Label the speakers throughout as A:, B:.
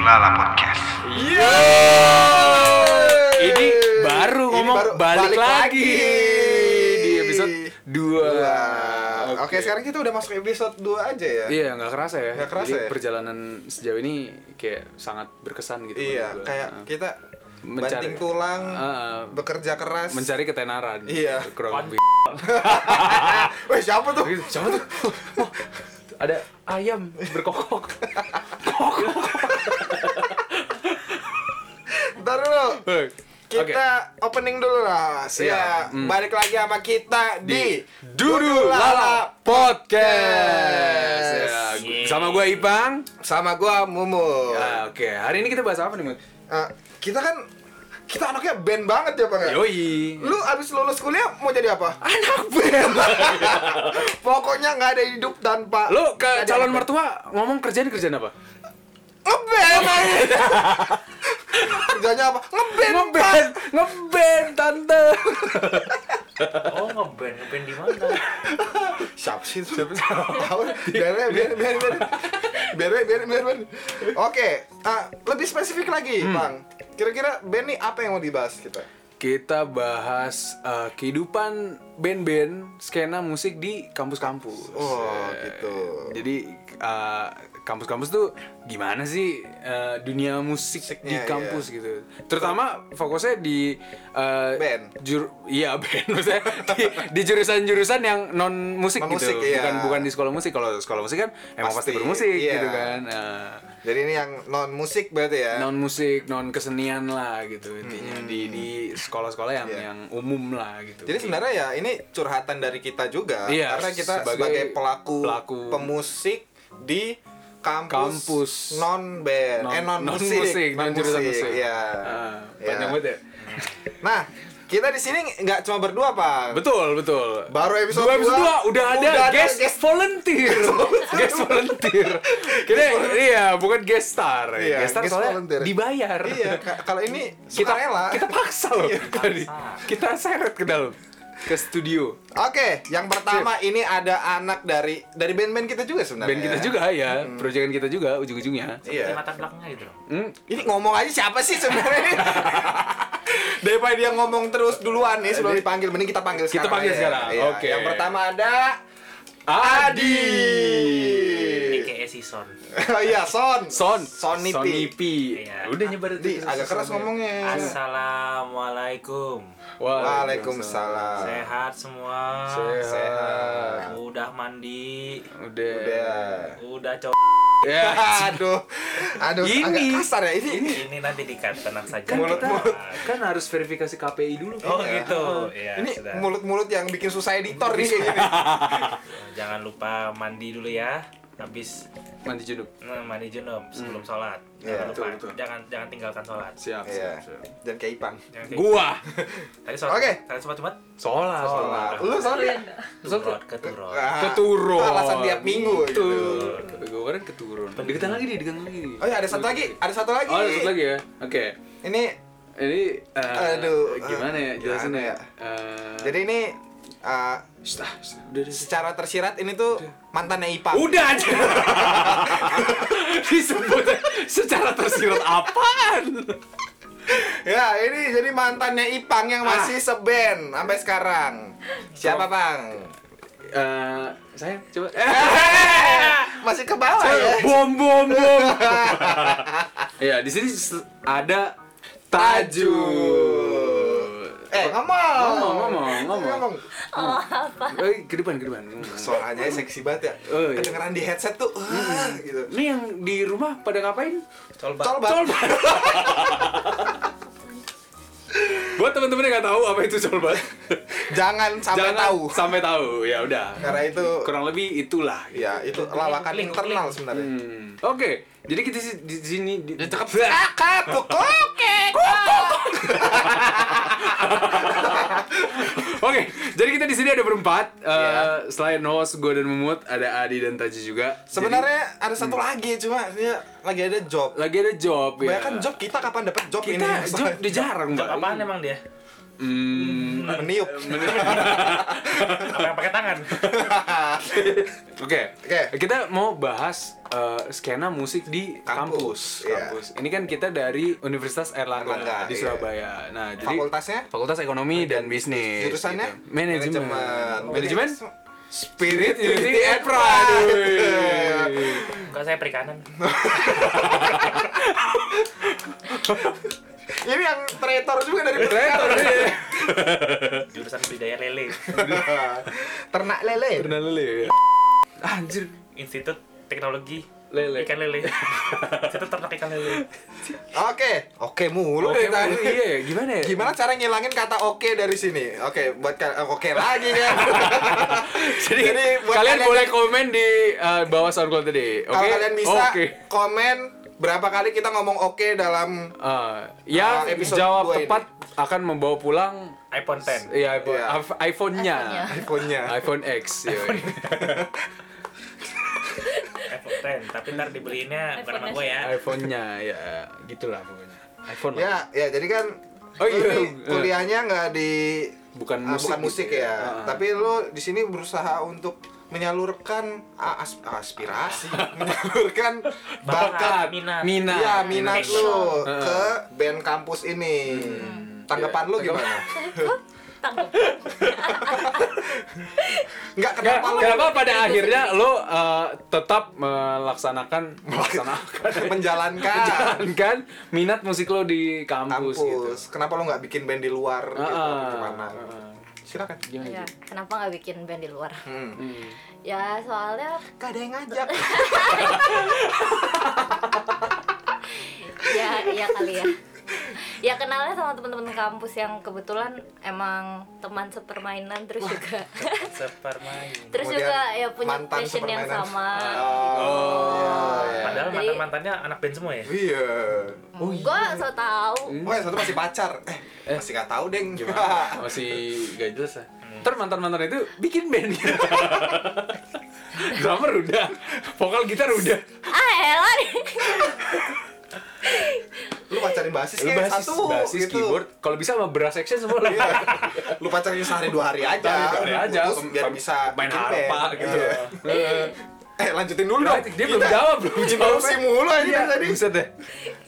A: Lala Podcast.
B: Ini baru
C: Ini
B: ngomong
C: baru-
B: balik,
C: balik
B: lagi.
C: lagi.
B: di episode 2.
C: Dua. Oke, sekarang kita udah masuk episode 2 aja ya.
B: Iya, nggak kerasa ya.
C: Nggak kerasa
B: Jadi
C: ya?
B: perjalanan sejauh ini kayak sangat berkesan gitu.
C: Iya,
B: menurut gua.
C: kayak
B: Nah,
C: kita
B: Mencari-
C: banting tulang,
B: Ah, ah.
C: bekerja keras.
B: mencari ketenaran.
C: Iya.
B: Kurang lebih.
C: Weh, siapa tuh?
B: Siapa tuh? Wah, Ada ayam berkokok.
C: Bentar dulu.
B: Oke.
C: Kita opening dulu lah.
B: Siap.
C: Siap.
B: Hmm.
C: Balik lagi sama kita di,
B: Dudu Lala Podcast. Ya,
C: Podcast.
B: gua- sama gue Ipang.
C: sama gua Mumu.
B: Ya, Oke, hari ini kita bahas apa nih, Mut?
C: Eh, kita kan kita anaknya band banget ya, Bang. ya?
B: Yoi. Ah.
C: Lu abis lulus kuliah mau jadi apa? Anak band. Pokoknya nggak ada hidup tanpa
B: Lu ke
C: nggak ada
B: calon
C: anak band.
B: mertua ngomong kerjaan kerjaan apa?
C: ngeband. aja. Kerjanya apa? Ngeband.
B: Ngeband, ngeband tante.
D: Oh ngeband, ngeband di mana?
C: Pak. Siapa sih itu? Tahu? Biar biar biar biar. Biar biar biar biar. Oke, ah, lebih spesifik lagi,
B: Hmm.
C: Bang. Kira-kira band nih apa yang mau dibahas kita?
B: Kita bahas eh, kehidupan band-band skena musik di kampus-kampus.
C: Oh,
B: Eh,
C: gitu.
B: Jadi eh, kampus-kampus tuh gimana sih eh, dunia musik di
C: Musiknya, iya.
B: kampus gitu. Terutama fokusnya di eh,
C: Band.
B: jur- iya band maksudnya di, di jurusan-jurusan yang non musik
C: Non-musik,
B: gitu.
C: iya.
B: Bukan bukan di sekolah musik. Kalau sekolah musik kan emang pasti,
C: Pasti,
B: bermusik
C: iya.
B: gitu kan. Eh,
C: Jadi ini yang non musik berarti ya.
B: non musik non kesenian lah gitu intinya di di sekolah-sekolah yang
C: Iya.
B: yang umum lah gitu
C: Jadi sebenarnya ya ini curhatan dari kita juga
B: Iya,
C: karena kita sebagai,
B: sebagai
C: pelaku,
B: pelaku.
C: pemusik di kampus,
B: Kampus.
C: non band
B: non,
C: eh non musik,
B: musik non jurusan musik
C: Iya.
B: Ah,
C: Iya.
B: panjang banget ya
C: Nah, kita di sini nggak cuma berdua, Pak.
B: betul betul
C: Baru episode
B: Dua episode
C: dua,
B: dua, udah ada guest volunteer guest volunteer kita iya bukan guest star
C: Iya,
B: guest star
C: guest
B: soalnya
C: volunteer.
B: dibayar
C: Iya, ka- kalau ini
B: kita
C: sukarela.
B: kita paksa loh
C: Iya.
B: tadi kita seret ke dalam ke studio
C: Oke, yang pertama ini ada anak dari dari band-band kita juga sebenarnya.
B: band kita juga ya
C: Hmm.
B: proyekan kita juga ujung-ujungnya
C: Iya.
D: Di mata belakangnya gitu loh.
B: Hmm,
C: Ini ngomong aja siapa sih sebenarnya? Daripada dia ngomong terus duluan nih sebelum dipanggil, mending kita panggil
B: Kita
C: sekarang.
B: panggil
C: aja.
B: sekarang,
C: Iya,
B: oke.
C: Yang pertama ada
B: Adi. Iya,
D: AKA Season.
C: oh iya, Son.
B: Son,
C: Sonipi.
D: Iya.
B: Udah nyebar
C: Di, agak keras ngomongnya.
D: Assalamualaikum.
B: Ah.
C: Waalaikumsalam.
D: Sehat semua.
C: Sehat.
D: Udah mandi.
B: Udah.
C: Udah.
D: Udah cowok.
B: Ya.
C: Aduh. Aduh,
B: Ini.
C: agak kasar ya ini.
D: Ini nanti dikat, tenang saja.
B: Kan kita
C: Mulut-mulut.
B: kan harus verifikasi KPI dulu.
D: Oh
B: Pak.
D: gitu.
B: Ya,
D: Iya,
C: ini
D: sudah.
C: mulut-mulut yang bikin susah editor nih kayak gini.
D: Jangan lupa mandi dulu ya. Habis
B: Mandi junub.
D: eh, mandi junub sebelum sholat.
C: Iya,
D: Jangan lupa.
B: Hmm. betul, betul.
D: Jangan jangan tinggalkan sholat.
B: Siap,
C: Iya.
B: siap, siap.
C: Dan kayak Ipang.
D: Jangan tinggal-
B: Gua
D: Tadi sholat.
C: Oke.
D: Tadi sholat Jumat.
B: sholat, sholat.
C: Sholat. Lu sorry.
D: Turut keturut.
C: Ah,
B: Keturun.
C: itu alasan tiap minggu
B: Itu.
C: gitu.
B: Gua kemarin keturun. Deketan lagi deh, deketan lagi.
C: Oh iya, ada satu lagi, ada satu lagi.
B: Oh, ada satu lagi ya. Oke.
C: Ini
B: Ini eh,
C: Aduh,
B: gimana ya
C: eh,
B: jelasinnya ya?
C: gimana ya?
B: Eh,
C: jadi ini eh,
B: Shh, ah, shh, udah, udah, udah.
C: secara tersirat ini tuh mantannya Ipang.
B: Udah aja. Disebut secara tersirat apaan?
C: Ya, ini jadi mantannya Ipang yang
B: Ah.
C: masih seben sampai sekarang. Siapa, Bang?
B: Eh, saya coba.
C: Masih ke bawah ya.
B: bom bom bom. ya, di sini s- ada Tajud.
C: Eh, ngomong.
B: Ngomong, ngomong, ngomong.
C: Ngomong.
B: Eh, ke depan, ke depan.
C: Suaranya seksi banget ya.
B: Oh, iya. Hmm.
C: Kedengeran di headset tuh. wah, gitu.
B: Ini yang di rumah pada ngapain?
D: Colbak.
C: Tol, Bang.
B: Colbat. Buat teman-teman yang nggak tahu apa itu colbat,
C: Jangan sampai
B: jangan
C: tahu.
B: sampai tahu. Ya udah.
C: Karena itu
B: Kurang lebih itulah.
C: ya itu lawakan
D: Link, link,
C: internal
D: link.
C: sebenarnya.
B: Hmm. Oke, jadi kita si- di sini di
C: Kakak, oke.
B: Oke, jadi kita di sini ada berempat. Eh, Selain host gue dan Mumut, ada Adi dan Taji juga. Jadi, Hmm.
C: Sebenarnya ada satu lagi cuma dia lagi ada job.
B: lagi ada job ya.
C: Kebanyakan job kita kapan dapat job
B: kita
C: ini?
B: job udah jarang
D: Job
C: Iya.
B: mbak.
D: apaan emang dia?
B: Hmm,
C: meniup
D: Apa yang pakai tangan?
B: Oke,
C: Oke.
B: kita mau bahas eh, skena musik di
C: Kampus,
B: kampus.
C: iya.
B: Kampus. Ini kan kita dari Universitas Erlangga,
C: Erlangga,
B: di
C: iya.
B: Surabaya. Nah, jadi
C: Fakultasnya?
B: Fakultas Ekonomi dan Bisnis.
C: Jurusannya?
B: gitu. Manajemen.
C: Manajemen.
B: Manajemen?
C: Spirit
B: Unity and Pride.
D: Enggak, saya perikanan.
C: Ini yang traitor juga dari
B: Ternyata dia.
D: Jurusan budidaya lele.
C: Ternak lele.
B: Ternyata lele. ya. Anjir.
D: Institut Teknologi
B: Lele.
D: Ikan lele. Institut ternak ikan lele.
C: Oke, oke mulu
B: Oke,
C: dari tadi.
B: iya ya, gimana ya?
C: Gimana cara ngilangin kata oke dari sini? Oke, buat ka- eh, oke lagi kan.
B: Jadi, kalian boleh komen di eh, bawah SoundCloud tadi. Oke. Oh,
C: kalau kalian bisa
B: Oke.
C: komen berapa kali kita ngomong oke dalam
B: Eh, yang
C: Ah, episode
B: jawab
C: dua ini.
B: tepat akan membawa pulang
D: iPhone 10.
B: Iya, iPhone,
C: Iya.
B: iPhone- iPhone-nya.
C: iPhone-nya.
B: iPhone X. iya.
D: iPhone 10, tapi ntar dibeliinnya bukan
A: iPhone
D: sama gue ya.
B: iPhone-nya ya gitulah pokoknya. iPhone lah.
C: Ya, ya jadi kan
B: Oh,
C: lu
B: iya.
C: nih kuliahnya nggak di
B: Bukan
C: ah,
B: musik
C: bukan musik
B: gitu ya.
C: ya.
B: Ah.
C: Tapi lu di sini berusaha untuk menyalurkan a- as- aspirasi, menyalurkan bakat
D: Bakat, minat.
B: Minat.
C: Iya, minat
D: Passion.
C: lu ke band kampus ini. Tanggapan lu gimana?
A: Tanggapan.
B: Nggak,
C: Enggak kenapa lu
B: kenapa pada akhirnya lo eh, tetap melaksanakan melaksanakan
C: menjalankan
B: menjalankan kan? minat musik lo di kampus,
C: kampus?
B: gitu.
C: Kenapa lu nggak bikin band di luar
B: Ah,
C: gitu
B: ah,
C: gimana?
B: ah.
C: Silakan.
B: Gimana,
A: Ya,
B: Ji?
A: kenapa nggak bikin band di luar?
C: Hmm.
B: Hmm.
A: Ya soalnya
C: Gak ada yang ngajak.
A: ya iya kali ya. Ya kenalnya sama teman-teman kampus yang kebetulan emang teman sepermainan terus juga
B: Iya.
D: Sepermain.
A: terus
C: Kemudian
A: juga ya punya
C: mantan
A: passion yang
C: sepermainan.
A: sama.
C: Oh. iya.
D: Padahal
A: Jadi-
D: mantan-mantannya anak band semua ya?
C: Iya.
A: Gue so tau.
C: Oh, yang satu masih pacar. Eh, masih nggak tahu, Deng.
B: Hmm. Gimana? Masih gak jelas ya. Ntar mantan-mantan itu bikin band. gitu. Drummer udah, vokal gitar udah.
A: Ah elah nih.
C: lu pacarin basis
B: Lu
C: kayak
B: basis,
C: Iya, satu
B: basis
C: gitu. Iya.
B: keyboard. Kalau bisa sama brass section semua lah.
C: lu pacarin sehari dua hari aja.
B: Cari cari aja
C: Terus biar bisa
B: main
C: bikin band.
B: harpa gitu. Nah,
C: Iya. Eh, lanjutin dulu dong. Iya.
B: Dia belum
C: Kita
B: jawab, belum jawab.
C: Interupsi mulu aja
B: Iya,
C: dari tadi.
B: Buset deh.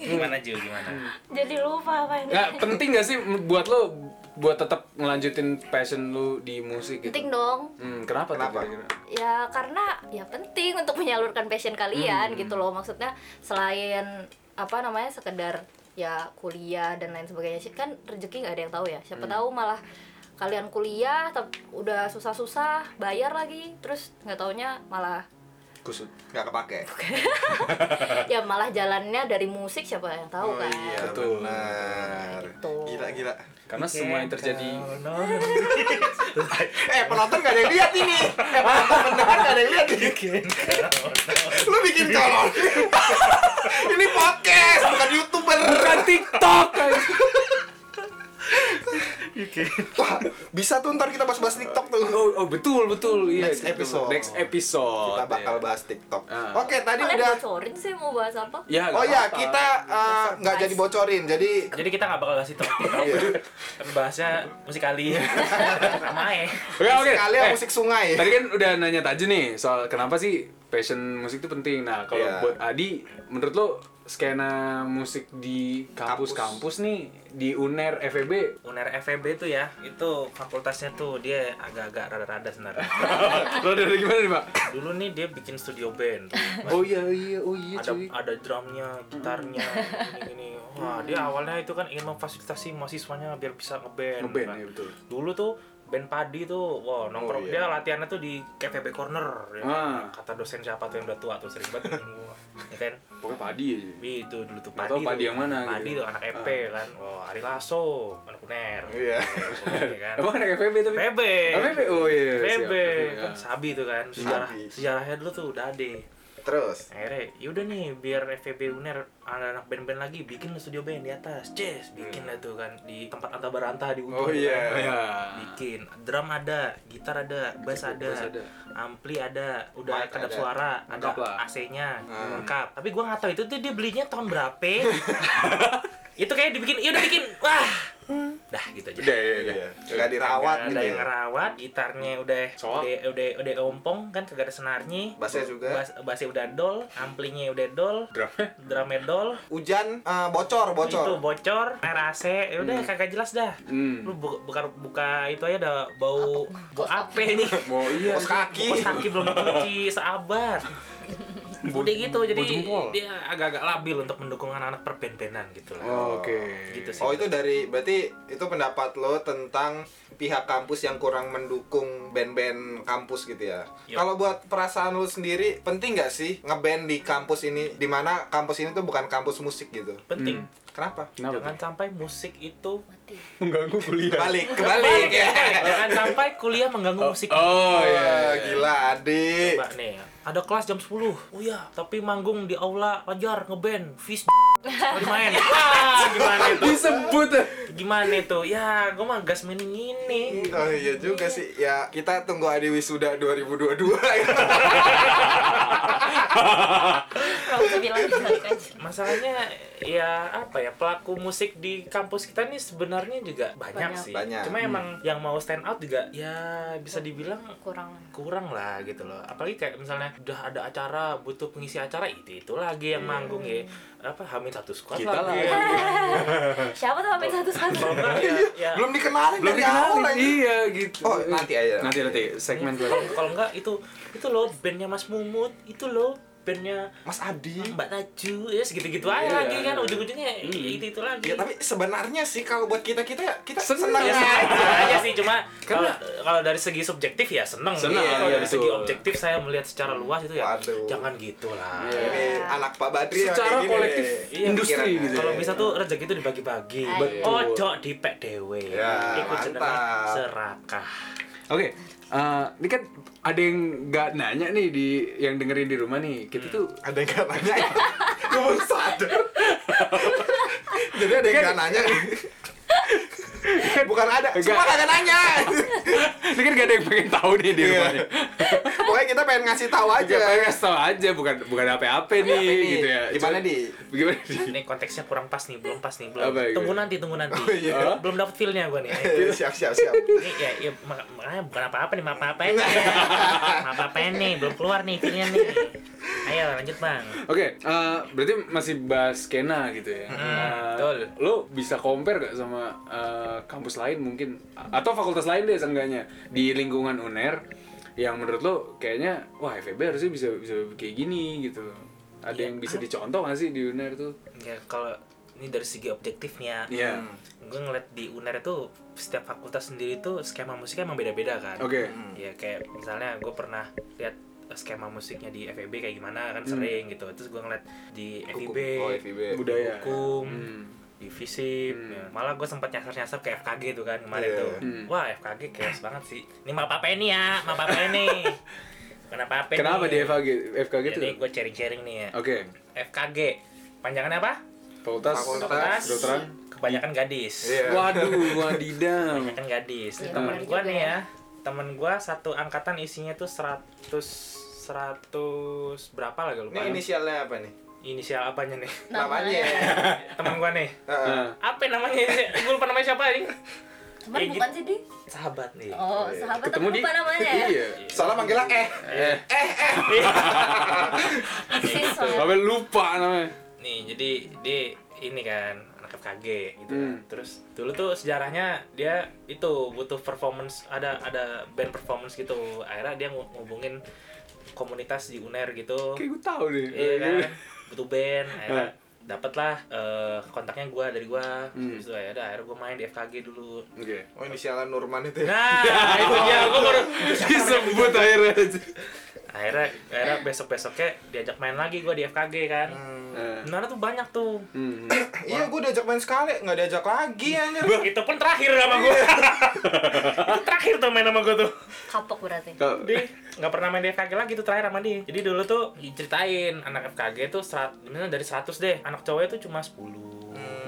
D: Gimana Ju, gimana?
A: Jadi lupa apa ini.
B: Nggak, penting gak sih buat lo buat tetap ngelanjutin passion lu di musik gitu?
A: Penting dong.
B: Hmm, kenapa? tuh
C: Kenapa?
B: kira-kira?
A: ya karena ya penting untuk menyalurkan passion kalian gitu loh maksudnya selain apa namanya sekedar ya kuliah dan lain sebagainya sih kan rezeki nggak ada yang tahu ya siapa tahu malah kalian kuliah tapi udah susah-susah bayar lagi terus nggak taunya malah
B: Kusut.
C: Nggak kepake.
A: ya malah jalannya dari musik siapa yang tahu kan
C: iya,
B: Betul.
C: benar.
A: Gitu.
C: Gila, gila.
B: Karena semua yang terjadi
C: Eh, penonton nggak ada yang lihat ini. Eh, penonton pendengar nggak ada yang lihat ini. Lu bikin colong. ini podcast, bukan YouTuber.
B: bukan TikTok. guys.
C: Wah, bisa tuh ntar kita bahas-bahas TikTok tuh.
B: oh, oh, betul betul. Iya,
C: Next
B: betul.
C: episode.
B: Next episode.
C: Kita bakal
B: ya.
C: bahas TikTok.
B: Ah.
C: Oke, tadi
A: kalian
C: udah
A: bocorin sih mau bahas apa
B: Ya, nggak
C: Oh ya,
B: apa-apa.
C: kita eh, nggak jadi bocorin. Jadi
D: Jadi kita nggak bakal kasih topik
B: Iya.
D: Tapi bahasnya musikali Sama ya
B: Oke, oke.
C: sekalian
B: Eh,
C: musik sungai.
B: Tadi kan udah nanya Taji nih soal kenapa sih passion musik itu penting. Nah, kalau
C: Iya.
B: buat Adi, menurut lo skena musik di kampus-kampus nih di UNER E FEB
D: UNER FEB tuh ya, itu fakultasnya tuh dia agak-agak rada-rada sebenarnya
B: lo dari gimana nih, Pak?
D: Dulu nih dia bikin studio band tuh.
B: Oh iya iya, oh iya
D: ada
B: cuy.
D: ada drumnya, gitarnya, gini-gini. Wah, dia awalnya itu kan ingin memfasilitasi mahasiswanya biar bisa ngeband.
B: Ngeband,
D: kan.
B: iya, betul.
D: Dulu tuh band padi tuh, wah nongkrong
C: Oh, iya.
D: dia latihannya tuh di KTB Corner. ya kan.
B: Ah.
D: Kata dosen siapa tuh yang udah tua tuh sering banget ngomong gua. ya kan?
B: Pokoknya padi aja.
D: Wih, itu dulu tuh
B: Nggak
D: padi.
B: tahu
D: tuh.
B: Padi yang mana
D: Padi
B: gitu.
D: tuh anak EP kan. Wah, Ari Lasso, anak UNER.
C: Iya.
D: Ya kan?
B: Emang ada FEB tapi?
D: PB.
B: Oh, FEB. Oh iya. iya, siap.
D: PB.
B: Iya.
D: Kan sabi tuh kan. Sejarah
C: Sabi.
D: sejarahnya dulu tuh udah ada
C: Terus.
D: akhirnya yaudah nih biar FVB UNER ada anak band-band lagi bikin lah studio band di atas Jazz bikin lah tuh kan di tempat anta beranta di
C: Hmm. Oh,
D: Ubud
C: iya.
D: kan.
B: Iya.
D: bikin drum ada gitar ada bass ada,
B: Bass ada.
D: ampli ada udah
C: Mic ada.
D: kedap suara
B: Lengkap lah.
D: ada AC-nya
C: Hmm.
D: lengkap tapi gua nggak tahu itu tuh dia belinya tahun berapa itu kayak dibikin iya udah bikin ya wah dah gitu aja
B: Udah, ya, ya.
C: Iya. Nggak dirawat
D: Nggak
C: gitu.
D: ada
C: ya.
D: yang ngerawat gitarnya udah
B: Soak.
D: udah udah udah ompong kan kagak ada senarnya
C: Bassnya juga.
D: Bass- bassnya udah dol amplinya udah dol
B: Drumnya?
D: drumnya dol
C: Hujan eh, bocor, bocor.
D: itu bocor merase ya udah kagak jelas dah
B: Hmm.
D: lu buka, buka buka itu aja udah bau bau ape nih
C: Oh,
B: Mau iya.
C: Bos kaki.
D: bos kaki belum dicuci seabad udah gitu jadi
B: jempol.
D: dia agak-agak labil untuk mendukung anak-anak perben-benan gitu lah
B: Oh, Oke.
D: gitu sih
C: Oh itu dari berarti itu pendapat lo tentang pihak kampus yang kurang mendukung band-band kampus gitu ya.
D: Yup.
C: Kalau buat perasaan lo sendiri penting nggak sih ngeband di kampus ini? Dimana kampus ini tuh bukan kampus musik gitu.
D: penting
C: Kenapa?
B: Kenapa
D: jangan sampai musik itu
A: mati
B: tuh? Mengganggu kuliah.
C: Kebalik, kebalik ya.
D: jangan sampai kuliah mengganggu musik
B: Oh iya.
C: Wah, gila adik.
D: Coba nih, ada kelas jam 10. Oh iya, tapi manggung di aula ajar ngeband, fish lagi main. Wah, Iya, gimana
C: Oh,
D: itu?
B: Disebut.
D: Gimana itu? Ya, gua mah gas mainin gini.
C: Oh iya juga sih. Ya kita tunggu Adi Wisuda 2022 ya.
A: kamu tuh bilang jelek aja
D: Masalahnya ya apa ya pelaku musik di kampus kita nih sebenarnya juga banyak,
A: Banyak.
D: sih.
C: Banyak.
D: Cuma emang yang mau stand out juga ya bisa dibilang
A: kurang
D: kurang lah gitu loh apalagi kayak misalnya udah ada acara butuh pengisi acara itu itu lagi yang manggung ya apa hamil satu squad
B: Kita
D: lagi
B: lah.
A: siapa tuh main satu satu
D: Kalau enggak, ya, ya.
C: Belum dikenalin
B: Belum
C: dari awal
B: dikenalin.
C: lagi.
B: Iya gitu.
C: Oh, nanti aja.
B: Nanti nanti segmen dua.
D: Kalau- kalau enggak itu itu loh bandnya Mas Mumut itu loh bandnya
C: Mas Adi.
D: Mbak Taju ya segitu gitu aja
B: Iya. Hmm.
D: lagi kan ujung-ujungnya itu itu lagi
C: Ya tapi sebenarnya sih kalau buat kita kita ya kita
B: Seneng.
C: senang
D: ya
C: ya.
D: seneng aja sih cuma kalau
B: Iya. Karena-
D: kalau dari segi subjektif ya seneng
B: Seneng,
D: Kalau
B: iya,
D: dari segi
B: betul.
D: objektif saya melihat secara luas itu ya
C: Waduh.
D: jangan gitulah
C: Ini anak Pak Badri yang
B: Secara
C: kayak gini
B: kolektif
C: nih.
D: Iya,
B: Iya, industri
C: pikirannya.
B: gitu.
D: Kalau
B: ya.
D: bisa tuh rezeki itu dibagi-bagi.
A: Betul.
D: Ojo dipek dewe.
C: Ya,
D: Ikut jenengan
C: mantap.
D: serakah.
B: Oke, eh, ini kan ada yang nggak nanya nih di yang dengerin di rumah nih. Kita tuh
C: Ada yang gak nanya ya? Gue baru sadar Jadi ada yang gak nanya nih. Bukan ada, cuma
B: Enggak.
C: kagak nanya
B: ini kan gak ada yang pengen tahu nih di
C: Iya.
B: rumahnya.
C: Pokoknya kita pengen ngasih tahu
B: Aja
C: aja Iya,
B: pengen ngasih tau aja bukan bukan apa-apa nih
C: Apa nih?
B: gitu ya.
C: Gimana,
B: Cuma-
C: Di?
B: Gimana di?
D: Ini konteksnya kurang pas nih, belum pas nih, belum.
B: Apa, gimana?
D: tunggu nanti, tunggu nanti.
C: Oh, iya.
D: Belum- Belum dapet feel-nya gua nih.
C: Siap, siap, siap
D: Ini ya, ya mak- makanya bukan apa-apa nih, apa apa nih. apa apa nih, belum keluar nih feel-nya nih. Ayo lanjut, Bang.
B: Oke, eh, berarti masih bahas skena gitu ya. Eh,
D: Hmm, betul.
B: Lo bisa compare gak sama eh, kampus lain mungkin A- atau fakultas lain deh seenggaknya di lingkungan UNER yang menurut lo kayaknya wah FEB harusnya bisa bisa kayak gini gitu. Ada
D: Iya.
B: yang bisa dicontoh gak sih di UNER tuh?
D: Ya kalau ini dari segi objektifnya,
B: Iya.
C: Hmm,
D: gue ngeliat di UNER itu setiap fakultas sendiri itu skema musiknya emang beda-beda kan.
B: Oke.
D: ya kayak misalnya gue pernah lihat skema musiknya di FEB kayak gimana
B: Hmm.
D: kan sering gitu terus gue ngeliat di E FIB
C: Oh,
B: E
C: FIB
B: Budaya.
D: hukum
B: Hmm.
D: di FISIP ya. malah gue sempat nyasar-nyasar ke FKG tuh kan kemarin
C: Iya.
D: tuh
B: Hmm.
D: wah FKG chaos banget sih ini mah apa ini ya mah apa ini kenapa apa
B: Kenapa di FKG FKG tuh?
D: jadi gue sharing-sharing nih ya
B: gitu? Oke.
D: FKG panjangannya apa
B: Fakultas,
C: Fakultas.
D: Fakultas
B: Kedokteran.
D: kebanyakan gadis
C: Iya.
B: Waduh, wadidam.
D: kan gadis
A: Iya,
D: temen
A: bener
D: gua
A: juga
D: nih
A: ya.
D: ya temen gua satu angkatan isinya tuh 100 100 berapa lah gak lupa
C: Ini inisialnya apa nih?
D: inisial apanya nih
C: Namanya
D: temen gua nih
C: Heeh.
B: Nah,
D: apa namanya gue lupa namanya siapa ini
A: cuman
D: Eh,
A: bukan sih di
D: sahabat nih
A: oh sahabat
B: ketemu di
A: tapi lupa namanya ya
B: Iya.
C: Salah manggilnya eh
B: Eh,
A: sis soalnya.
B: sampai lupa namanya.
D: nih jadi dia ini kan anak FKG gitu
B: Hmm.
D: kan. terus dulu tuh sejarahnya dia itu butuh performance ada ada band performance gitu akhirnya dia ngu- ngubungin komunitas di UNER gitu
B: Kayak ya. gue tahu deh.
D: iya kan butuh band akhirnya
B: Eh.
D: dapet lah eh, kontaknya gua dari gua
B: Hmm.
D: Habis itu ya udah akhirnya gua main di FKG dulu
B: Oke.
C: Oh inisialnya Nurman itu ya
D: nah itu dia gua baru
B: Disebut akhirnya aja.
D: akhirnya akhirnya besok besoknya diajak main lagi gua di FKG kan Sebenarnya tuh banyak tuh
B: Nah, Hmm.
C: Iya gue diajak main sekali, nggak diajak lagi anjir
D: itu pun terakhir sama gua itu terakhir tuh main sama gua tuh
A: kapok berarti
B: Kalau-
D: dia nggak pernah main di FKG lagi tuh terakhir sama dia jadi dulu tuh diceritain anak FKG tuh serat, misalnya dari 100 deh anak cowoknya tuh cuma 10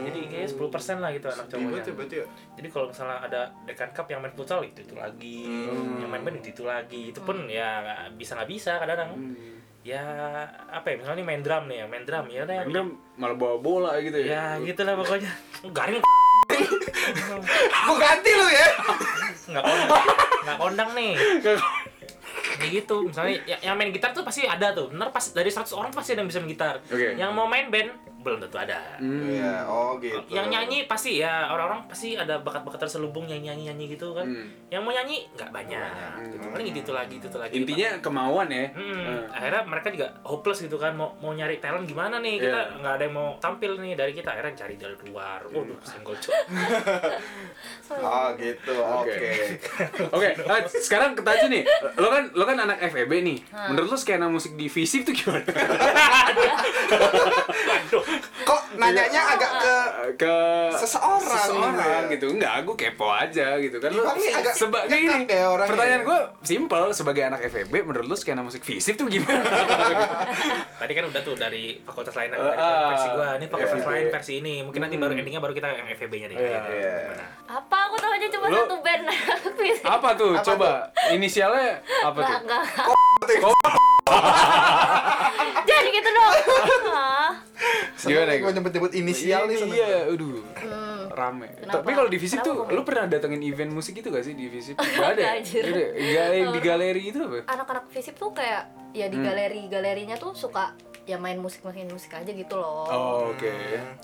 D: jadi kayaknya 10% lah gitu anak cowoknya
C: Berarti, berarti ya
D: jadi kalau misalnya ada dekan cup yang main futsal itu itu lagi yang main band itu itu lagi itu pun ya nggak- bisa nggak bisa kadang-kadang ya apa ya misalnya nih main drum nih ya main drum ya udah yang
B: Dia malah bawa bola gitu ya.
D: ya gitulah pokoknya garing
C: Gua ganti lu ya.
D: nggak kondang nggak kondang nih kayak gitu misalnya ya- yang main gitar tuh pasti ada tuh bener pas dari 100 orang tuh pasti ada yang bisa main gitar
B: Oke.
D: yang mau main band belum tentu ada
B: Hmm.
C: Iya, oh gitu.
D: yang nyanyi pasti ya orang-orang pasti ada bakat-bakat terselubung yang nyanyi nyanyi gitu kan
B: Hmm.
D: yang mau nyanyi nggak banyak gitu. paling itu lagi itu lagi
B: Intinya kemauan ya.
D: Hmm, akhirnya mereka juga hopeless gitu kan mau mau nyari talent gimana nih
B: Iya.
D: kita nggak ada yang mau tampil nih dari kita akhirnya cari dari luar
B: Hmm.
D: waduh single cok
C: Oh gitu.
B: Oke.
C: Oke.
B: Oke, eh, sekarang kita aja nih. Lo kan lo kan anak FEB nih.
C: Hmm.
B: Menurut lo skena musik di Visip tuh gimana?
D: waduh
C: Kok nanyanya
B: Iya.
C: agak ke
B: Ke
C: Seseorang.
B: seseorang gitu. Enggak, gue kepo aja gitu kan. Lo
C: Bang, ini agak
B: sebagai
C: ngekak
B: ini.
C: ya orangnya.
B: pertanyaan gue simple sebagai anak FEB menurut lo skena musik Visip tuh gimana?
D: tadi kan udah tuh dari fakultas lain
B: Eh,
D: dari versi
B: ah,
D: gua ini fakultas
B: FEB.
D: lain versi ini mungkin nanti baru endingnya baru kita yang FEB-nya nih
B: Iya,
C: iya.
D: Gitu. Gimana?
A: apa aku tahu aja cuma
B: Lu-
A: satu band nah, Fisip.
B: apa tuh?
C: Apa
B: Coba inisialnya apa tuh?
A: Nggak, nggak. Jangan gitu dong. Ah,
B: Gimana,
C: Gimana? Gue
B: Gu?
C: nyebut-nyebut inisial nih. seneng.
B: Iya, aduh.
A: Hmm.
B: Rame.
A: Kenapa?
B: Tapi kalau di Visip
A: Kenapa
B: tuh
A: kamu?
B: lu pernah datengin event musik gitu gak sih di Visip? Gak ada. ya?
A: Anjir. Oh.
B: Gak ada. Gak yang di galeri itu apa?
A: Anak-anak Fisip tuh kayak ya
B: Hmm.
A: di galeri-galerinya tuh suka ya main musik-main musik aja gitu loh.
B: Oh, oke.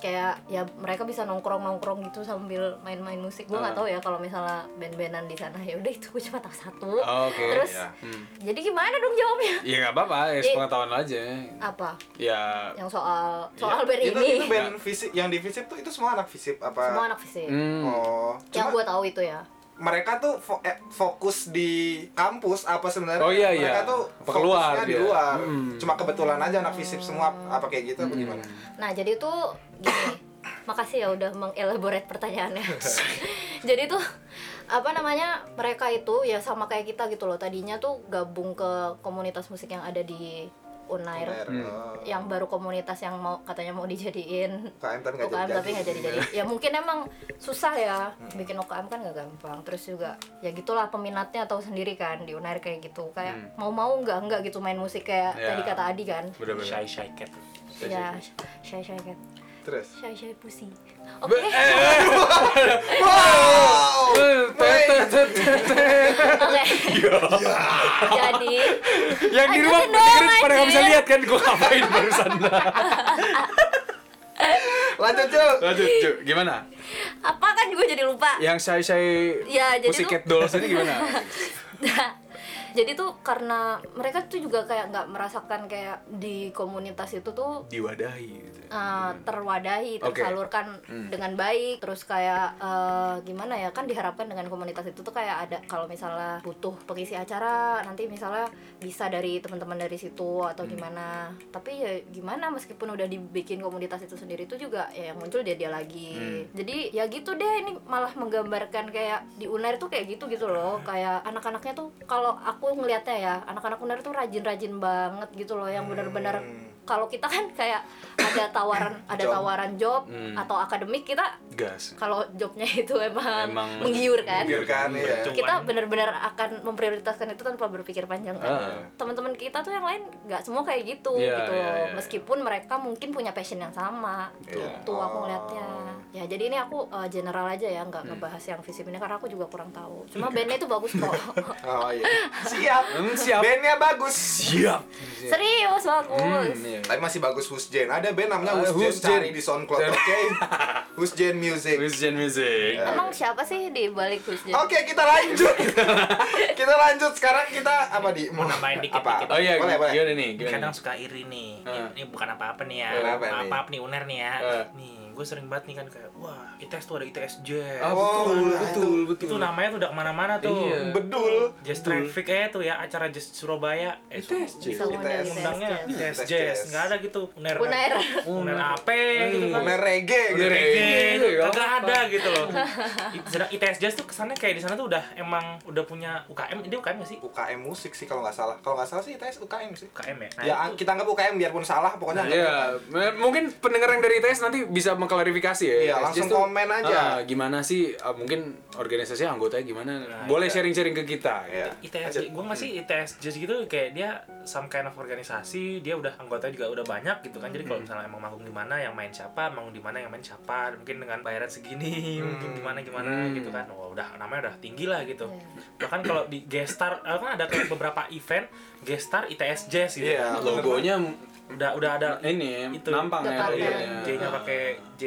A: kayak ya mereka bisa nongkrong nongkrong gitu sambil main-main musik gue nggak
B: Ah.
A: tahu ya kalau misalnya band-bandan di sana ya udah itu gue cuma tahu satu
B: Oke.
A: terus
C: iya.
A: Iya.
B: Hmm.
A: jadi gimana dong jawabnya
B: Ya gak apa-apa, ya
A: Jadi-
B: sepengetahuan lo aja.
A: apa
B: Ya
A: yang soal
B: Iya.
A: soal band
C: Itu
A: ini
C: itu band visip yang di visip tuh itu semua anak visip apa?
A: semua anak fisik
B: hmm.
C: Oh.
A: yang
C: Cuma
A: gue tahu itu ya
C: mereka tuh fo- eh, fokus di kampus apa sebenarnya?
B: Oh, iya, iya.
C: mereka tuh
B: Apa keluar
C: fokusnya di
B: dia?
C: luar.
B: Hmm.
C: Cuma kebetulan aja anak visip semua apa kayak gitu apa gimana?
A: Nah, jadi itu gini. Makasih ya udah mengelaborate pertanyaannya. jadi tuh apa namanya? Mereka itu ya sama kayak kita gitu loh. Tadinya tuh gabung ke komunitas musik yang ada di Unair.
C: Bener. Oh.
B: Hmm.
A: Yang baru komunitas yang mau katanya mau dijadiin
C: UKM tapi nggak
A: UKM
C: jadi-jadi.
A: tapi nggak jadi-jadi. Ya mungkin emang susah ya bikin UKM kan nggak gampang. Terus juga ya gitulah peminatnya tahu sendiri kan di Unair kayak gitu. Kayak mau-mau nggak nggak gitu main musik kayak
B: Ya.
A: tadi kata Adi kan.
B: Bener-bener.
D: shy shy cat
A: Ya, saya saya kan.
C: Terus.
A: Shy Shy Pussy.
B: Be-
A: Oke.
B: eh, eh,
A: Oh,
C: Wow.
B: eh, tet, tet, tet, tet, tet.
A: Oke. Jadi,
B: Yang di
A: Aduh,
B: rumah
A: seneng,
B: pendengar pada nggak bisa
A: anjir.
B: lihat kan gue ngapain barusan.
C: Lanjut cuy.
B: Lanjut, Ju. gimana?
A: apa kan gue jadi lupa.
B: Yang saya saya
A: Ya, jadi
B: Pussycat Dolls ini gimana?
A: Nah, jadi tuh karena mereka tuh juga kayak nggak merasakan kayak di komunitas itu tuh
B: Diwadahi gitu.
A: eh, terwadahi,
B: Oke.
A: tersalurkan dengan baik, terus kayak eh, gimana ya kan diharapkan dengan komunitas itu tuh kayak ada kalau misalnya butuh pengisi acara nanti misalnya bisa dari teman-teman dari situ atau gimana, tapi ya gimana meskipun udah dibikin komunitas itu sendiri itu juga ya yang muncul dia dia lagi, jadi ya gitu deh ini malah menggambarkan kayak di Unair tuh kayak gitu gitu loh, kayak anak-anaknya tuh kalau aku ngelihatnya ya anak-anak Unair tuh rajin-rajin banget gitu loh yang benar-benar kalau kita kan kayak ada tawaran ada
C: Job.
A: tawaran job
B: Hmm.
A: atau akademik kita
B: Gas.
A: kalau jobnya itu emang,
B: Emang
A: menggiurkan
C: Menggiurkan, iya.
D: Cuan.
A: kita benar-benar akan memprioritaskan itu tanpa berpikir panjang
B: Ah.
A: kan teman-teman kita tuh yang lain nggak semua kayak gitu
B: Iya,
A: gitu
B: iya,
A: loh.
B: iya.
A: meskipun mereka mungkin punya passion yang sama
B: Betul.
A: gitu aku
C: Oh.
A: ngeliatnya ya jadi ini aku eh, general aja ya nggak
B: Hmm.
A: ngebahas yang visip ini karena aku juga kurang tahu
B: Iya.
A: cuma bandnya itu bagus kok
C: Oh iya. Siap.
B: Hmm, siap.
C: Bandnya bagus.
B: Siap.
A: serius
B: Hmm,
C: Oh,
B: iya.
A: bagus
C: Tapi masih bagus Husjen. Ada band namanya
B: Ah,
C: Husjen.
B: Husjen.
C: Cari di SoundCloud, oke? Husjen Music. Oke,
B: Christian
C: Iya.
B: music.
A: emang siapa sih di balik Husjen?
C: kita lanjut. kita lanjut sekarang kita apa di
D: Mau nambahin dikit,
C: apa?
D: dikit.
B: Oh iya,
C: boleh, boleh.
B: gimana nih? Gimana?
D: kadang suka iri nih
B: Eh.
D: ini bukan apa-apa nih ya
C: Kenapa nih?
D: maaf maaf nih uner nih ya
B: Eh.
D: nih gue sering banget nih kan kayak wah ITS tuh ada ITS Jazz
B: Ah,
C: Oh,
B: betul,
C: nah,
B: betul, betul.
D: itu namanya tuh udah kemana-mana tuh
B: Iya.
C: Bedul.
D: Jazz traffic eh tuh ya acara Jazz Surabaya eh,
B: ITS Jazz.
A: Bisa ngundang
C: ITS.
D: undangnya
A: Jazz.
D: Jazz
C: Jazz.
D: Jazz nggak ada gitu uner
A: Unair.
D: uner apa gitu kan
C: Bener reggae gitu.
B: Bener reggae.
D: Reggae,
B: Iya, iya.
D: kagak ada gitu loh. I- Sedang ITS Jazz tuh kesannya kayak di sana tuh udah emang udah punya UKM, dia UKM gak sih?
C: UKM musik sih kalau nggak salah. Kalau nggak salah sih ITS UKM sih.
D: UKM ya. Nah,
C: ya
D: itu-
C: kita anggap UKM biarpun salah pokoknya. anggap
B: Iya,
C: UKM.
B: m- mungkin pendengar yang dari ITS nanti bisa mengklarifikasi ya.
C: Iya,
B: SJS
C: langsung
B: tuh,
C: komen aja.
B: ah, gimana sih ah, mungkin organisasi anggotanya gimana?
D: Nah, iya.
B: Boleh sharing-sharing ke kita.
C: Iya.
B: Gitu.
D: ITS, gue masih ITS just gitu kayak dia some kind of organisasi, dia udah anggota juga udah banyak gitu kan. Jadi
B: Hmm.
D: kalau misalnya emang manggung di mana yang main siapa, manggung di mana yang main siapa, mungkin dengan bayaran segini, mungkin gimana gimana
B: Hmm.
D: gitu kan. Wah, udah namanya udah tinggi lah gitu. Bahkan kalau di Gestar kan ada kayak beberapa event Gestar ITS Jazz gitu.
C: Iya.
B: Nah,
D: Kan.
B: Logonya
D: Udah udah ada
B: ini
D: itu.
B: nampang ya.
A: Depan
B: logonya.
A: ya.
D: J-nya pakai J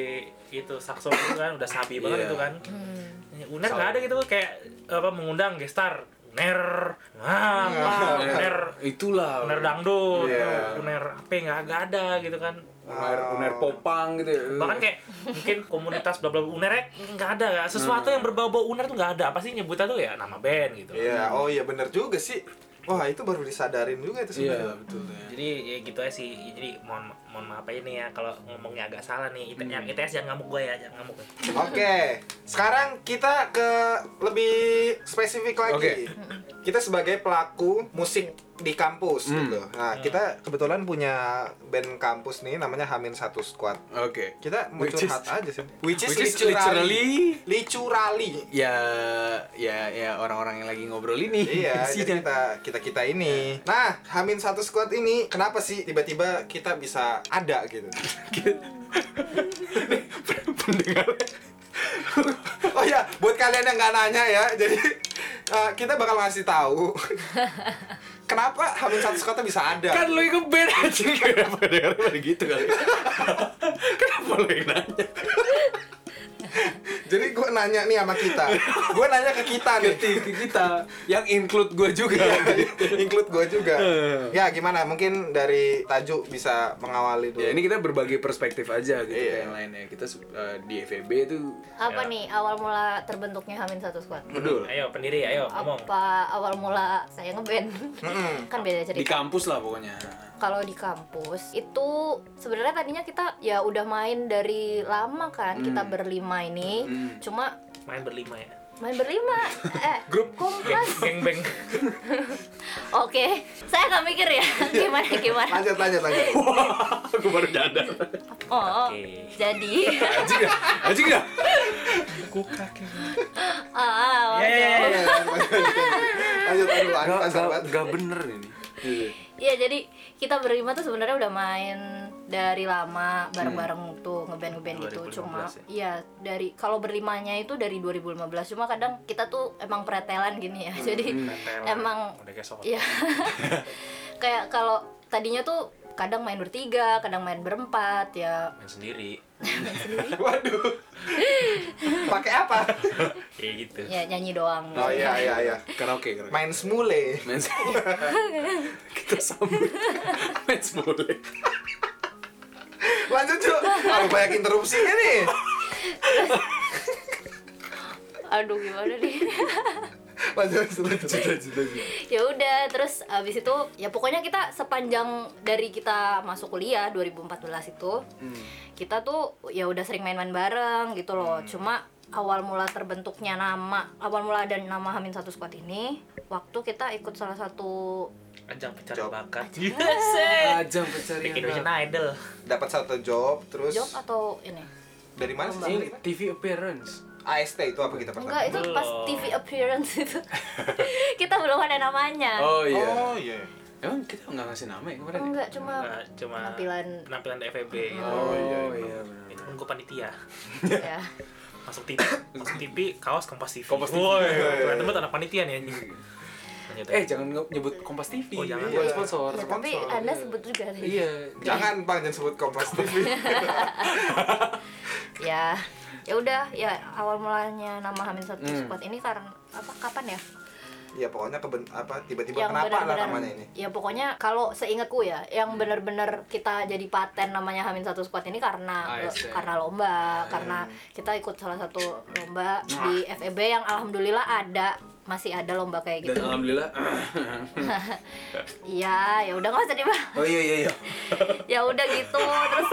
D: itu saksofon itu kan udah sapi
B: Iya.
D: banget itu kan.
A: Hmm.
D: Uner nggak ada gitu kayak apa mengundang gestar Uner,
B: Iya.
D: nah,
C: Nah,
D: Uner,
B: Eh, Itulah.
D: Uner dangdut,
C: Iya.
D: Uner HP nggak nggak ada gitu kan.
B: Uner, uner popang gitu. ya.
D: Bahkan kayak mungkin komunitas bla bla Uner ya, nggak ada, nggak sesuatu yang berbau-bau Uner tuh nggak ada. Apa sih nyebutnya tuh ya nama band gitu.
C: Hmm. Iya, oh iya bener juga sih. Wah, itu baru disadarin juga itu
B: Iya
C: sebenarnya.
B: betul. ya.
D: Jadi ya gitu aja sih. Jadi mohon mohon maaf aja nih ya kalau ngomongnya agak salah nih. IT,
C: Hmm.
D: Yang ITS jangan ngamuk gue ya, jangan ngamuk.
C: Oke, sekarang kita ke lebih spesifik lagi.
B: Oke.
C: Kita sebagai pelaku musik di kampus
B: Hmm.
C: gitu. Nah, kita kebetulan punya band kampus nih namanya Hamin Satu Squad.
B: Oke.
C: Kita mau
B: Which is-
C: curhat aja sih. Which
B: Which is literally
C: Licurali.
B: ya ya ya orang-orang yang lagi ngobrol ini
C: Iya, jadi
B: isinya.
C: kita kita kita ini. Nah, Hamin satu squad ini kenapa sih tiba-tiba kita bisa ada gitu?
B: pendengar
C: Oh ya, buat kalian yang nggak nanya ya, jadi eh, kita bakal ngasih tahu kenapa Hamin satu squad tuh bisa ada.
B: kan lu yang ngeband aja kenapa dengar pada gitu kali kenapa lu yang nanya
C: Jadi gue nanya nih sama kita, gue nanya ke kita nih.
B: Ngerti, ke kita yang include gue juga iya.
C: Include gue juga.
B: Eh.
C: Ya gimana? Mungkin dari Tajuk bisa mengawali dulu.
B: ya ini kita berbagi perspektif aja gitu
C: Iya.
B: kayak yang lainnya kita eh, di FEB itu
A: Apa
D: Ya.
A: nih awal mula terbentuknya Hamin Satu Squad?
B: betul
D: Ayo pendiri, ayo ngomong.
A: Apa awal mula saya ngeband?
C: Mm-mm.
A: kan beda
B: di
A: cerita.
B: kampus lah pokoknya
A: Kalau di kampus itu sebenarnya tadinya kita ya udah main dari lama kan kita berlima ini.
B: Hmm.
A: Cuma
D: Main berlima ya.
A: main berlima eh
B: Grup.
D: Geng,
A: kompas.
D: geng beng.
A: Oke, saya nggak mikir ya gimana gimana.
C: Lanjut, lanjut, lanjut.
B: aku baru dadar
A: Oh,
D: Oke.
A: jadi
B: anjing gak? anjing ya. gak?
D: Kukak ya.
A: ah,
C: Lanjut,
D: Yeay.
C: lanjut, lanjut, lanjut,
B: gak,
C: lanjut,
B: gak,
C: lanjut.
B: gak bener ini Iya.
A: Iya jadi kita berlima tuh sebenarnya udah main dari lama
D: Hmm.
A: bareng-bareng tuh ngeband ngeband gitu
D: 2015
A: cuma
D: ya?
A: iya dari kalau berlimanya itu dari 2015 cuma kadang kita tuh emang pretelan gini ya jadi emang
D: Hmm, udah kayak soal.
A: Iya. kayak kalau tadinya tuh kadang main bertiga kadang main berempat ya
D: Main sendiri.
C: Waduh. Pakai apa?
D: Ya gitu.
A: ya nyanyi doang
C: Oh iya iya iya.
B: karaoke karaoke
C: Main semule.
B: main kita sambut main boleh
C: Lanjut cuy. Kalau banyak interupsinya nih.
A: aduh gimana nih
C: Lanjut lanjut, lanjut.
A: ya udah terus abis itu ya pokoknya kita sepanjang dari kita masuk kuliah 2014 itu
B: Hmm.
A: kita tuh ya udah sering main-main bareng gitu loh
B: Hmm.
A: cuma awal mula terbentuknya nama awal mula ada nama Hamin satu squad ini waktu kita ikut salah satu
D: Ajang pencarian
C: Job.
D: bakat.
B: ajang
D: Bikin
B: pencarian
D: Indonesian Idol.
C: Dapat satu job terus
A: job atau ini
C: dari mana
A: Ini
C: sih?
B: TV appearance
C: AST itu apa kita pertama?
A: enggak itu pas
D: Belum.
A: TV appearance itu kita belum ada namanya
B: oh iya
C: Oh iya.
B: emang kita nggak ngasih nama ya kemarin ya?
A: enggak cuma
D: Nah, cuma
A: penampilan
D: penampilan di FEB.
B: oh iya iya
D: Itu pun gue panitia.
A: ya
D: Masuk TV, masuk TV, kaos Kompas TV.
B: Kompas TV.
D: Woi, keren banget anak panitia nih anjing. Lanjut.
B: eh jangan nge- nyebut Kompas TV
D: Oh, jangan.
B: Buat sponsor
A: Ya, tapi
C: Sponsor,
A: anda
C: iya.
A: sebut juga tadi.
B: iya
C: Jangan Bang jangan sebut Kompas TV.
A: ya ya udah ya awal mulanya nama Hamin satu
B: Hmm.
A: squad ini karena apa kapan ya
C: ya pokoknya keben apa tiba-tiba kenapa lah
A: benar-benar-
C: namanya ini? Hmm.
A: ya pokoknya kalau seingatku ya yang benar-benar kita jadi paten namanya Hamin satu squad ini karena
B: Ah, yes, ya.
A: karena
C: Hmm.
A: lomba karena kita ikut salah satu lomba di FEB yang E alhamdulillah ada masih ada lomba
B: dan
A: kayak gitu
C: uh,
B: alhamdulillah
A: iya ya udah nggak usah dibahas
B: oh iya iya iya
A: ya udah gitu terus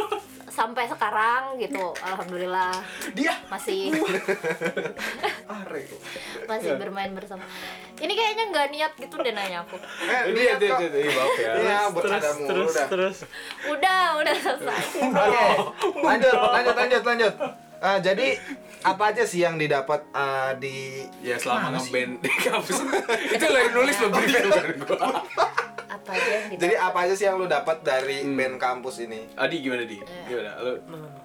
A: sampai sekarang gitu alhamdulillah
B: dia
A: masih
C: ah Reko Iya.
A: masih bermain bersama ini kayaknya nggak niat gitu deh nanya aku
C: eh
B: ini
C: dia
B: dia dia dia iya, maaf ya
C: Iya, bercanda
D: terus
C: mulu
D: terus
C: dah.
D: terus
A: udah udah selesai
C: Oke,
B: Oh,
C: lanjut, lanjut, lanjut, lanjut. Ah, jadi apa aja sih yang didapat ah, di
B: ya selama ngeband di kampus itu lo yang nulis lo beri gambar gua
A: apa aja yang
C: jadi
A: didapat?
C: apa aja sih yang lu dapat dari
B: Hmm.
C: band kampus ini?
B: Adi gimana di
D: Iya.
B: gimana lo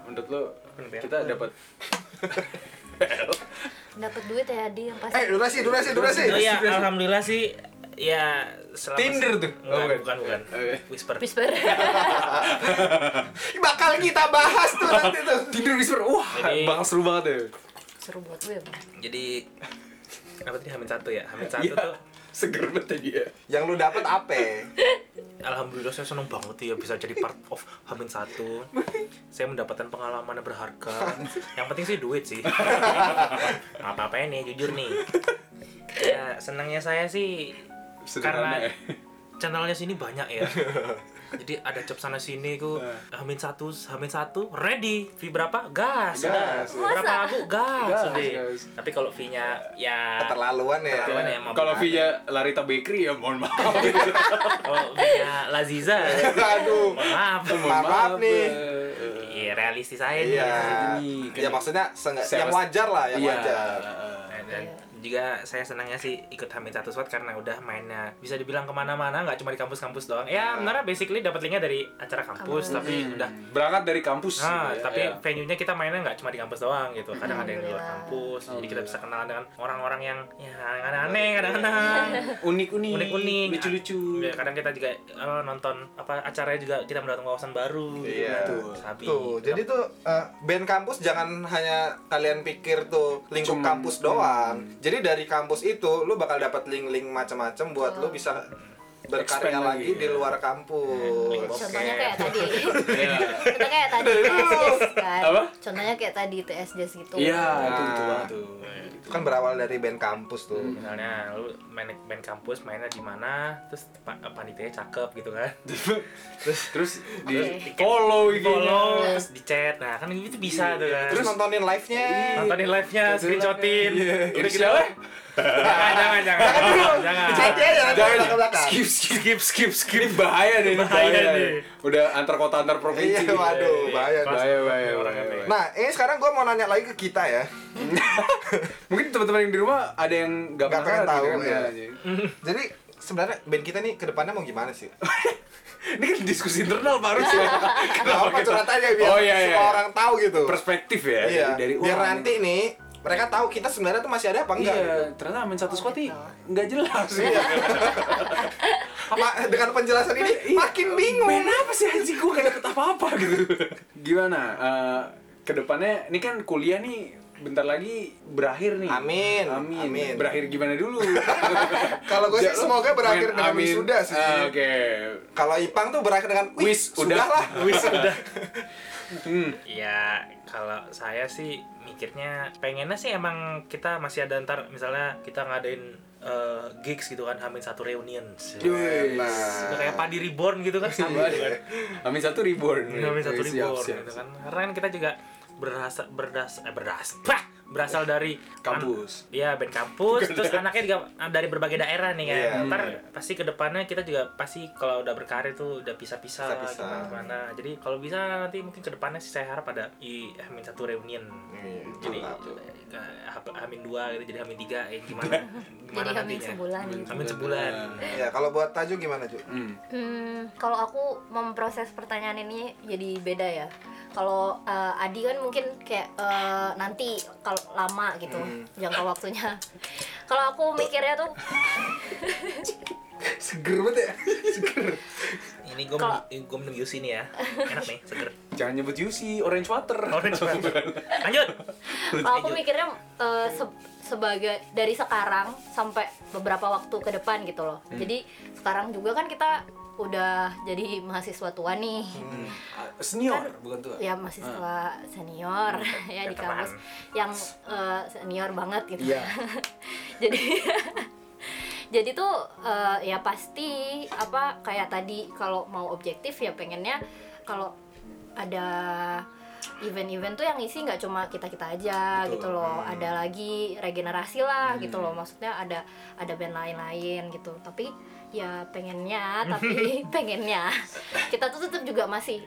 B: menurut lo
D: ya?
B: kita dapat
A: dapat duit ya di yang
C: Eh,
A: pasti
C: durasi, durasi, durasi.
D: Oh iya, alhamdulillah sih ya selama
B: Tinder tuh.
D: Enggak,
B: Oh, bukan.
D: bukan bukan.
B: Oke.
D: Whisper.
A: whisper
C: Bakal kita bahas tuh nanti tuh.
B: tidur di sur wah
D: Jadi-
B: bang seru banget ya
A: seru buat gue ya, Bang.
D: Jadi apa tadi hamil satu ya? Hamil satu
B: Iya,
D: tuh
B: seger banget tadi ya
C: Yang lu dapat apa?
D: alhamdulillah saya senang banget ya bisa jadi part of hamil satu. saya mendapatkan pengalaman yang berharga. Yang penting sih duit sih. apa apa nih jujur nih. Ya senangnya saya sih
B: Sederhana
D: karena
B: ya.
D: channelnya sini banyak ya. Jadi ada cap sana sini ku Hamin satu, Hamin satu, ready. Fee berapa?
B: Gas,
D: Gas. udah. Berapa
A: Masa?
D: lagu? Gas.
B: Gas,
D: udah.
B: gas.
D: Tapi kalau fee-nya ya
C: Keterlaluan ya.
D: Keterlaluan. Gimana ya, mau
B: kalau
D: berani?
B: via Larita Bakery ya mohon maaf
D: kalau fee-nya Laziza,
B: ya.
C: Aduh.
D: mohon maaf.
B: mohon
C: Maaf nih.
B: eh, eh.
D: Iya, realistis aja nih.
C: Iya.
B: Ini kan-
C: Ya maksudnya seenggak-
B: Saya
C: yang
B: mas-
C: wajar lah, yang
B: Iya.
C: wajar.
D: Dan, dan juga saya senangnya sih ikut Hamin satu Squad karena udah mainnya bisa dibilang kemana-mana nggak cuma di kampus-kampus doang ya benar basically dapat linknya dari acara kampus tapi
B: Hmm.
D: udah
B: berangkat dari kampus
D: Nah,
B: gitu ya,
D: Hmm. tapi
B: ya.
D: venue-nya kita mainnya nggak cuma di kampus doang gitu. Kadang ada yang di luar
A: Alhamdulillah.
D: kampus, jadi kita bisa kenalan dengan orang-orang yang ya aneh-aneh kadang-kadang.
B: unik-unik
D: Unik-unik.
B: lucu-lucu
D: Ya, kadang kita juga eh, nonton apa acaranya juga kita mendatangkan wawasan baru gitu.
C: Iya.
D: Tuh, Sabi. gitu.
C: Tuh, jadi tuh eh, band kampus jangan hanya kalian pikir tuh lingkup
B: Cuman-
C: kampus doang. Jadi dari kampus itu lu bakal dapat link-link macam-macam buat lu bisa berkarya
B: Expand
C: lagi
B: lagi,
C: di
B: ya.
C: luar kampus.
A: contohnya kayak tadi
B: Iya.
A: contohnya kayak tadi TS Jazz kan
B: Apa?
A: contohnya kayak tadi TS Jazz gitu
B: iya
D: Ah.
B: itu
C: Nah.
B: itu banget tuh
C: Itu kan berawal dari band kampus tuh.
D: Misalnya lu main main kampus mainnya di mana, terus pa- eh, panitianya cakep gitu kan.
B: terus di
A: Oke.
B: follow
D: Di
B: gitu
D: follow, terus di chat. Nah, kan itu bisa tuh kan.
C: Terus Iya. nontonin live-nya.
D: nontonin
B: Iya.
D: live-nya, screenshotin.
B: udah
D: Udah
B: kita
D: gitu. Jangan, jangan, jangan. Jangan.
C: Dia jangan
B: Jangan,
C: ke belakang.
B: skip skip skip skip ini bahaya nih ini
D: Bahaya
B: bahaya
D: nih.
B: nih udah antar kota antar provinsi gitu. nih.
C: Iya, waduh, bahaya.
D: Kelas-
B: bahaya bahaya
D: orangnya
B: bahaya, bahaya.
D: nih.
C: Nah, ini sekarang gue mau nanya lagi ke kita ya.
B: mungkin teman-teman yang di rumah ada yang nggak
C: Nggak pengen
B: penasaran
C: tahu,
B: nih,
C: ya.
B: kan, ya.
C: Jadi sebenarnya band kita nih kedepannya mau gimana sih?
B: ini kan diskusi internal baru sih
C: Gak apa curhat aja biar
B: Oh, iya, iya.
C: semua orang tahu gitu.
B: perspektif ya
C: iya.
B: dari, dari
C: biar
B: wah,
C: nanti nih mereka tahu kita sebenarnya tuh masih ada apa enggak. gitu. Iya.
B: iya ternyata main satu squad nih nggak jelas
C: Ma- dengan penjelasan ini makin bingung.
B: Main Iya. apa sih anjing gue gak dapet apa-apa gitu Gimana? eh, kedepannya, ini kan kuliah nih bentar lagi berakhir nih
C: Amin.
B: Amin,
C: Amin.
B: Berakhir gimana dulu?
C: Kalau gue sih
B: Ja, lo
C: semoga berakhir
B: main
C: dengan
B: amin.
C: wisuda sih.
B: Ah, Oke
C: Kalau Ipang tuh berakhir dengan wih,
B: Wis,
C: sudah
B: udah.
C: lah.
B: Wis, udah
D: Ya kalau saya sih mikirnya pengennya sih emang kita masih ada ntar misalnya kita ngadain eh, gigs gitu kan hamin satu reunion.
B: Yes.
D: Udah kayak padi reborn gitu kan sama gitu kan.
B: Amin satu reborn
D: Hamin Iya, satu
B: Iya, Siap,
D: reborn
B: siap,
D: gitu
B: siap.
D: kan. Karena kan kita juga berasa berdas eh, berdas bah! berasal dari
B: Kampus.
D: an- Iya, band kampus terus anaknya juga dari berbagai daerah nih kan.
C: Iya.
D: Ntar pasti kedepannya kita juga pasti kalau udah berkarir tuh udah pisah-pisah
C: Pisah-pisah.
D: gimana gimana. Jadi kalau bisa nanti mungkin kedepannya sih saya harap ada i Hamin satu reunion. Jadi eh, Hamin dua gitu jadi Hamin tiga eh, gimana gimana
A: jadi kami
D: nantinya.
A: sebulan gitu
D: Hamin sebulan.
C: Ya, kalau buat Taju gimana, Ju?
B: Hmm.
A: Hmm, kalau aku memproses pertanyaan ini jadi beda ya. Kalau eh, Adi kan mungkin kayak eh, nanti kalau lama gitu
C: Hmm.
A: jangka waktunya. Kalau aku mikirnya tuh
C: Seger banget ya.
D: Ini gue
A: Kalau-
D: gue minum Yusi nih ya. Enak nih, seger.
B: Jangan nyebut Yusi, Orange Water
D: Orange Water. Lanjut.
A: kalau aku mikirnya eh, se- sebagai dari sekarang sampai beberapa waktu ke depan gitu loh. Jadi sekarang juga kan kita udah jadi mahasiswa tua nih.
B: Ah, Senior, bukan tua Ah.
A: Ya mahasiswa
B: Hmm,
A: senior ya di kampus yang eh, senior banget gitu.
B: Iya.
A: jadi jadi tuh eh, ya pasti apa kayak tadi kalau mau objektif ya pengennya kalau ada event-event tuh yang isi nggak cuma kita kita aja
B: Betul. Hmm.
A: gitu loh ada lagi regenerasi lah gitu loh maksudnya ada ada band lain-lain gitu tapi ya pengennya tapi pengennya kita tuh tetap juga masih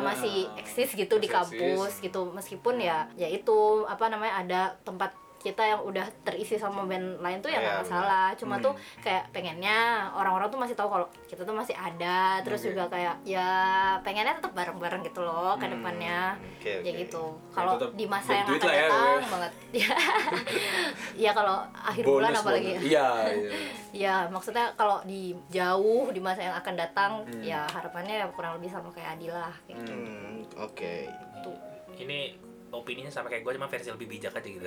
B: Nah,
A: Ah, masih eksis gitu
B: masih
A: di
B: eksis.
A: kampus gitu meskipun ya ya itu apa namanya ada tempat kita yang udah terisi sama band lain tuh ya
D: Iya,
A: nggak masalah cuma
B: Hmm.
A: tuh kayak pengennya orang-orang tuh masih tahu kalau kita tuh masih ada terus
B: Oke.
A: juga kayak ya pengennya tetap bareng-bareng gitu loh
B: Hmm,
A: ke depannya
C: Oke,
A: ya
C: oke.
A: gitu kalau
B: tetap
A: di masa
B: bank
A: yang
B: duit lah
A: akan
B: ya,
A: datang
B: pokoknya.
A: banget ya ya kalau akhir bulan apalagi ya.
B: Iya, iya.
A: ya maksudnya kalau di jauh di masa yang akan datang
B: Hmm.
A: ya harapannya ya kurang lebih sama kayak Adilah kayak gitu.
C: Hmm, oke.
D: ini opininya sama kayak gue cuma versi lebih bijak aja gitu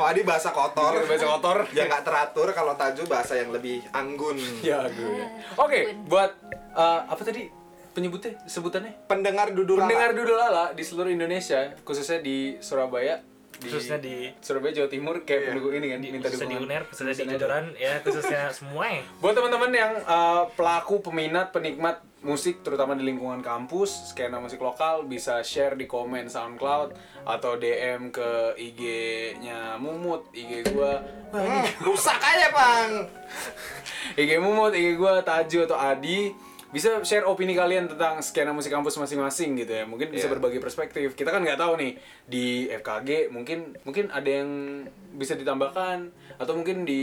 C: Oh, Adi bahasa kotor.
B: Iya, bahasa kotor.
C: Ya nggak teratur kalau Taju bahasa yang lebih anggun.
B: Ya, gue. Oke, buat eh, apa tadi penyebutnya sebutannya?
C: Pendengar dudul
B: Pendengar Dudulala di seluruh Indonesia, khususnya di Surabaya, di-
D: Khususnya di-
B: Surabaya Jawa Timur kayak
C: Iya.
B: pendukung ini kan minta
D: khususnya di
B: dukungan.
D: UNER khususnya di
B: Khususnya ada.
D: Jodoran ya khususnya semua ya
B: Buat teman-teman yang eh, pelaku, peminat, penikmat musik terutama di lingkungan kampus, skena musik lokal bisa share di komen SoundCloud atau DM ke IG-nya Mumut, IG gua.
C: Hmm, rusak aja, Bang.
B: IG Mumut, IG gua Taju atau Adi bisa share opini kalian tentang skena musik kampus masing-masing gitu ya mungkin bisa
C: Iya.
B: berbagi perspektif kita kan nggak tahu nih di FKG mungkin mungkin ada yang bisa ditambahkan atau mungkin di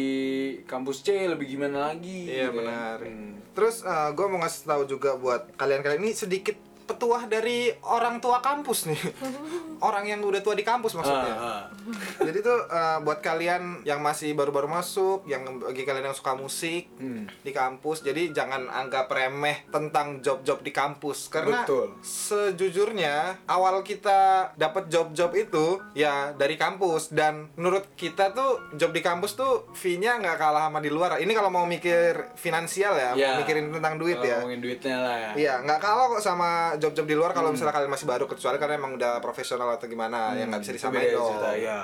B: kampus C lebih gimana lagi gitu
C: Iya,
B: ya.
C: benar.
B: Hmm.
C: Terus gue mau ngasih tahu juga buat kalian-kalian ini sedikit petuah dari orang tua kampus nih. orang yang udah tua di kampus maksudnya.
B: Ah, ah.
C: Jadi tuh eh, buat kalian yang masih baru-baru masuk, yang bagi kalian yang suka musik
B: Hmm.
C: di kampus, jadi jangan anggap remeh tentang job-job di kampus karena
B: Betul.
C: sejujurnya awal kita dapat job-job itu ya dari kampus dan menurut kita tuh job di kampus tuh fee-nya nggak kalah sama di luar. Ini kalau mau mikir finansial ya,
B: Ya.
C: mau mikirin tentang duit
B: Kalau
C: ya.
B: ngomongin Hmm. duitnya lah ya.
C: Iya, nggak kalah kok sama job-job di luar kalau misalnya kalian masih baru kecuali kalian emang udah profesional atau gimana yang nggak bisa
B: Itu
C: disamain
B: Hmm, beda
C: dong.
B: cerita, ya.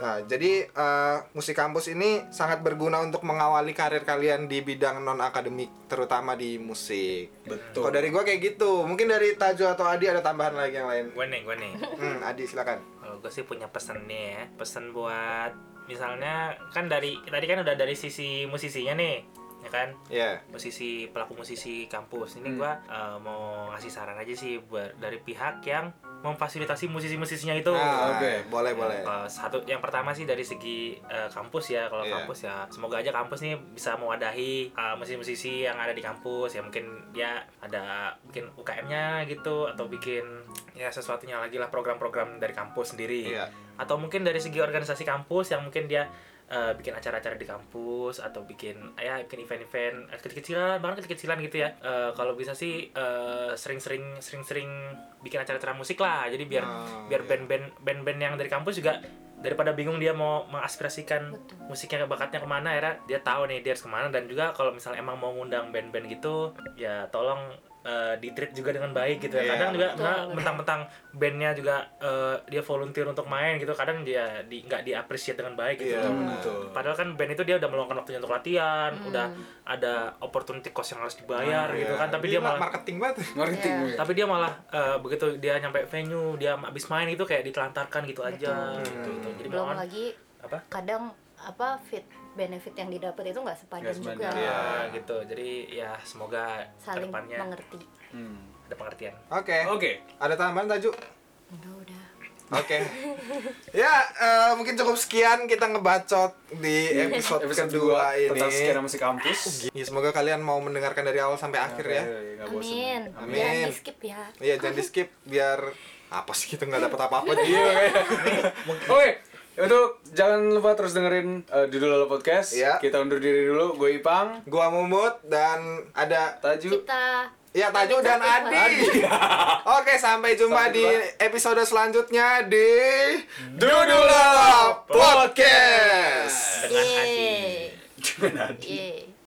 C: Nah, jadi eh, musik kampus ini sangat berguna untuk mengawali karir kalian di bidang non akademik, terutama di musik.
B: Betul.
C: Kalau dari gua kayak gitu, mungkin dari Taju atau Adi ada tambahan lagi yang lain.
D: gue nih gue nih
C: Hmm, Adi silakan.
D: kalau gue sih punya pesan nih ya pesan buat misalnya kan dari tadi kan udah dari sisi musisinya nih ya kan
C: Ya.
D: musisi pelaku musisi kampus ini
B: Hmm.
D: gua eh, mau ngasih saran aja sih buat dari pihak yang memfasilitasi musisi-musisinya itu
C: Nah,
B: Ah, oke.
C: boleh boleh.
D: Eh, satu yang pertama sih dari segi eh, kampus ya kalau
C: Iya.
D: kampus ya semoga aja kampus nih bisa mewadahi eh, musisi-musisi yang ada di kampus ya mungkin ya ada bikin UKM-nya gitu atau bikin ya sesuatunya lagi lah program-program dari kampus sendiri
C: Iya.
D: atau mungkin dari segi organisasi kampus yang mungkin dia eh, bikin acara-acara di kampus atau bikin ya bikin event-event eh, kecil-kecilan bahkan kecil-kecilan gitu ya Eh, kalau bisa sih eh, sering-sering sering-sering bikin acara-acara musik lah jadi biar
C: Oh,
D: biar
C: iya.
D: band-band band-band yang dari kampus juga daripada bingung dia mau mengaspirasikan
A: Betul.
D: musiknya bakatnya kemana akhirnya dia tahu nih dia harus kemana dan juga kalau misalnya emang mau ngundang band-band gitu ya tolong eh, di-treat juga dengan baik gitu ya
C: Iya,
D: kadang juga
A: betul.
D: nah, mentang-mentang bandnya juga eh, dia volunteer untuk main gitu kadang dia di nggak diapresiasi dengan baik gitu
C: Iya,
D: loh.
C: benar.
B: Betul.
D: padahal kan band itu dia udah meluangkan waktunya untuk latihan
A: Hmm.
D: udah ada opportunity cost yang harus dibayar
B: Ah,
D: gitu
C: Iya.
D: kan tapi dia
C: Gila,
D: malah
C: marketing banget.
B: Ngerti
A: Iya.
B: gue.
D: tapi dia malah eh, begitu dia nyampe venue dia abis main itu kayak ditelantarkan gitu aja
A: Betul. Hmm.
D: gitu, gitu. jadi
A: belum
D: malah
A: lagi
D: apa
A: kadang apa fit benefit yang didapat itu nggak sepadan
B: Nggak sepadan,
A: juga
C: iya.
D: Ah, gitu jadi ya semoga
A: saling
D: kedepannya
A: mengerti
B: Hmm.
D: ada pengertian
C: Oke.
B: Oke.
C: Ada tambahan Taju?
A: udah udah
C: Oke. ya, eh, mungkin cukup sekian kita ngebacot di
D: Iya.
C: episode,
B: Episode
C: kedua, ini.
B: tentang skena musik kampus.
C: Ya, semoga kalian mau mendengarkan dari awal sampai akhir ya.
B: Nggak bosen.
A: amin
C: Amin.
A: jangan di skip ya
C: Iya, jangan di skip biar apa sih kita nggak dapat apa-apa ya. jadi.
B: Iya. Oke. Oke. Untuk jangan lupa terus dengerin eh, Dudul Lala Podcast.
C: Iya.
B: Kita undur diri dulu. Gue Ipang,
C: Gua Mumut dan ada
B: Taju.
A: kita
C: ya Taju dan Adi. Oke, sampai jumpa
B: Sampai
C: di
B: jumpa.
C: episode selanjutnya di
B: Dudul
C: Podcast.
D: Terima kasih.
A: Yeay. Yeay.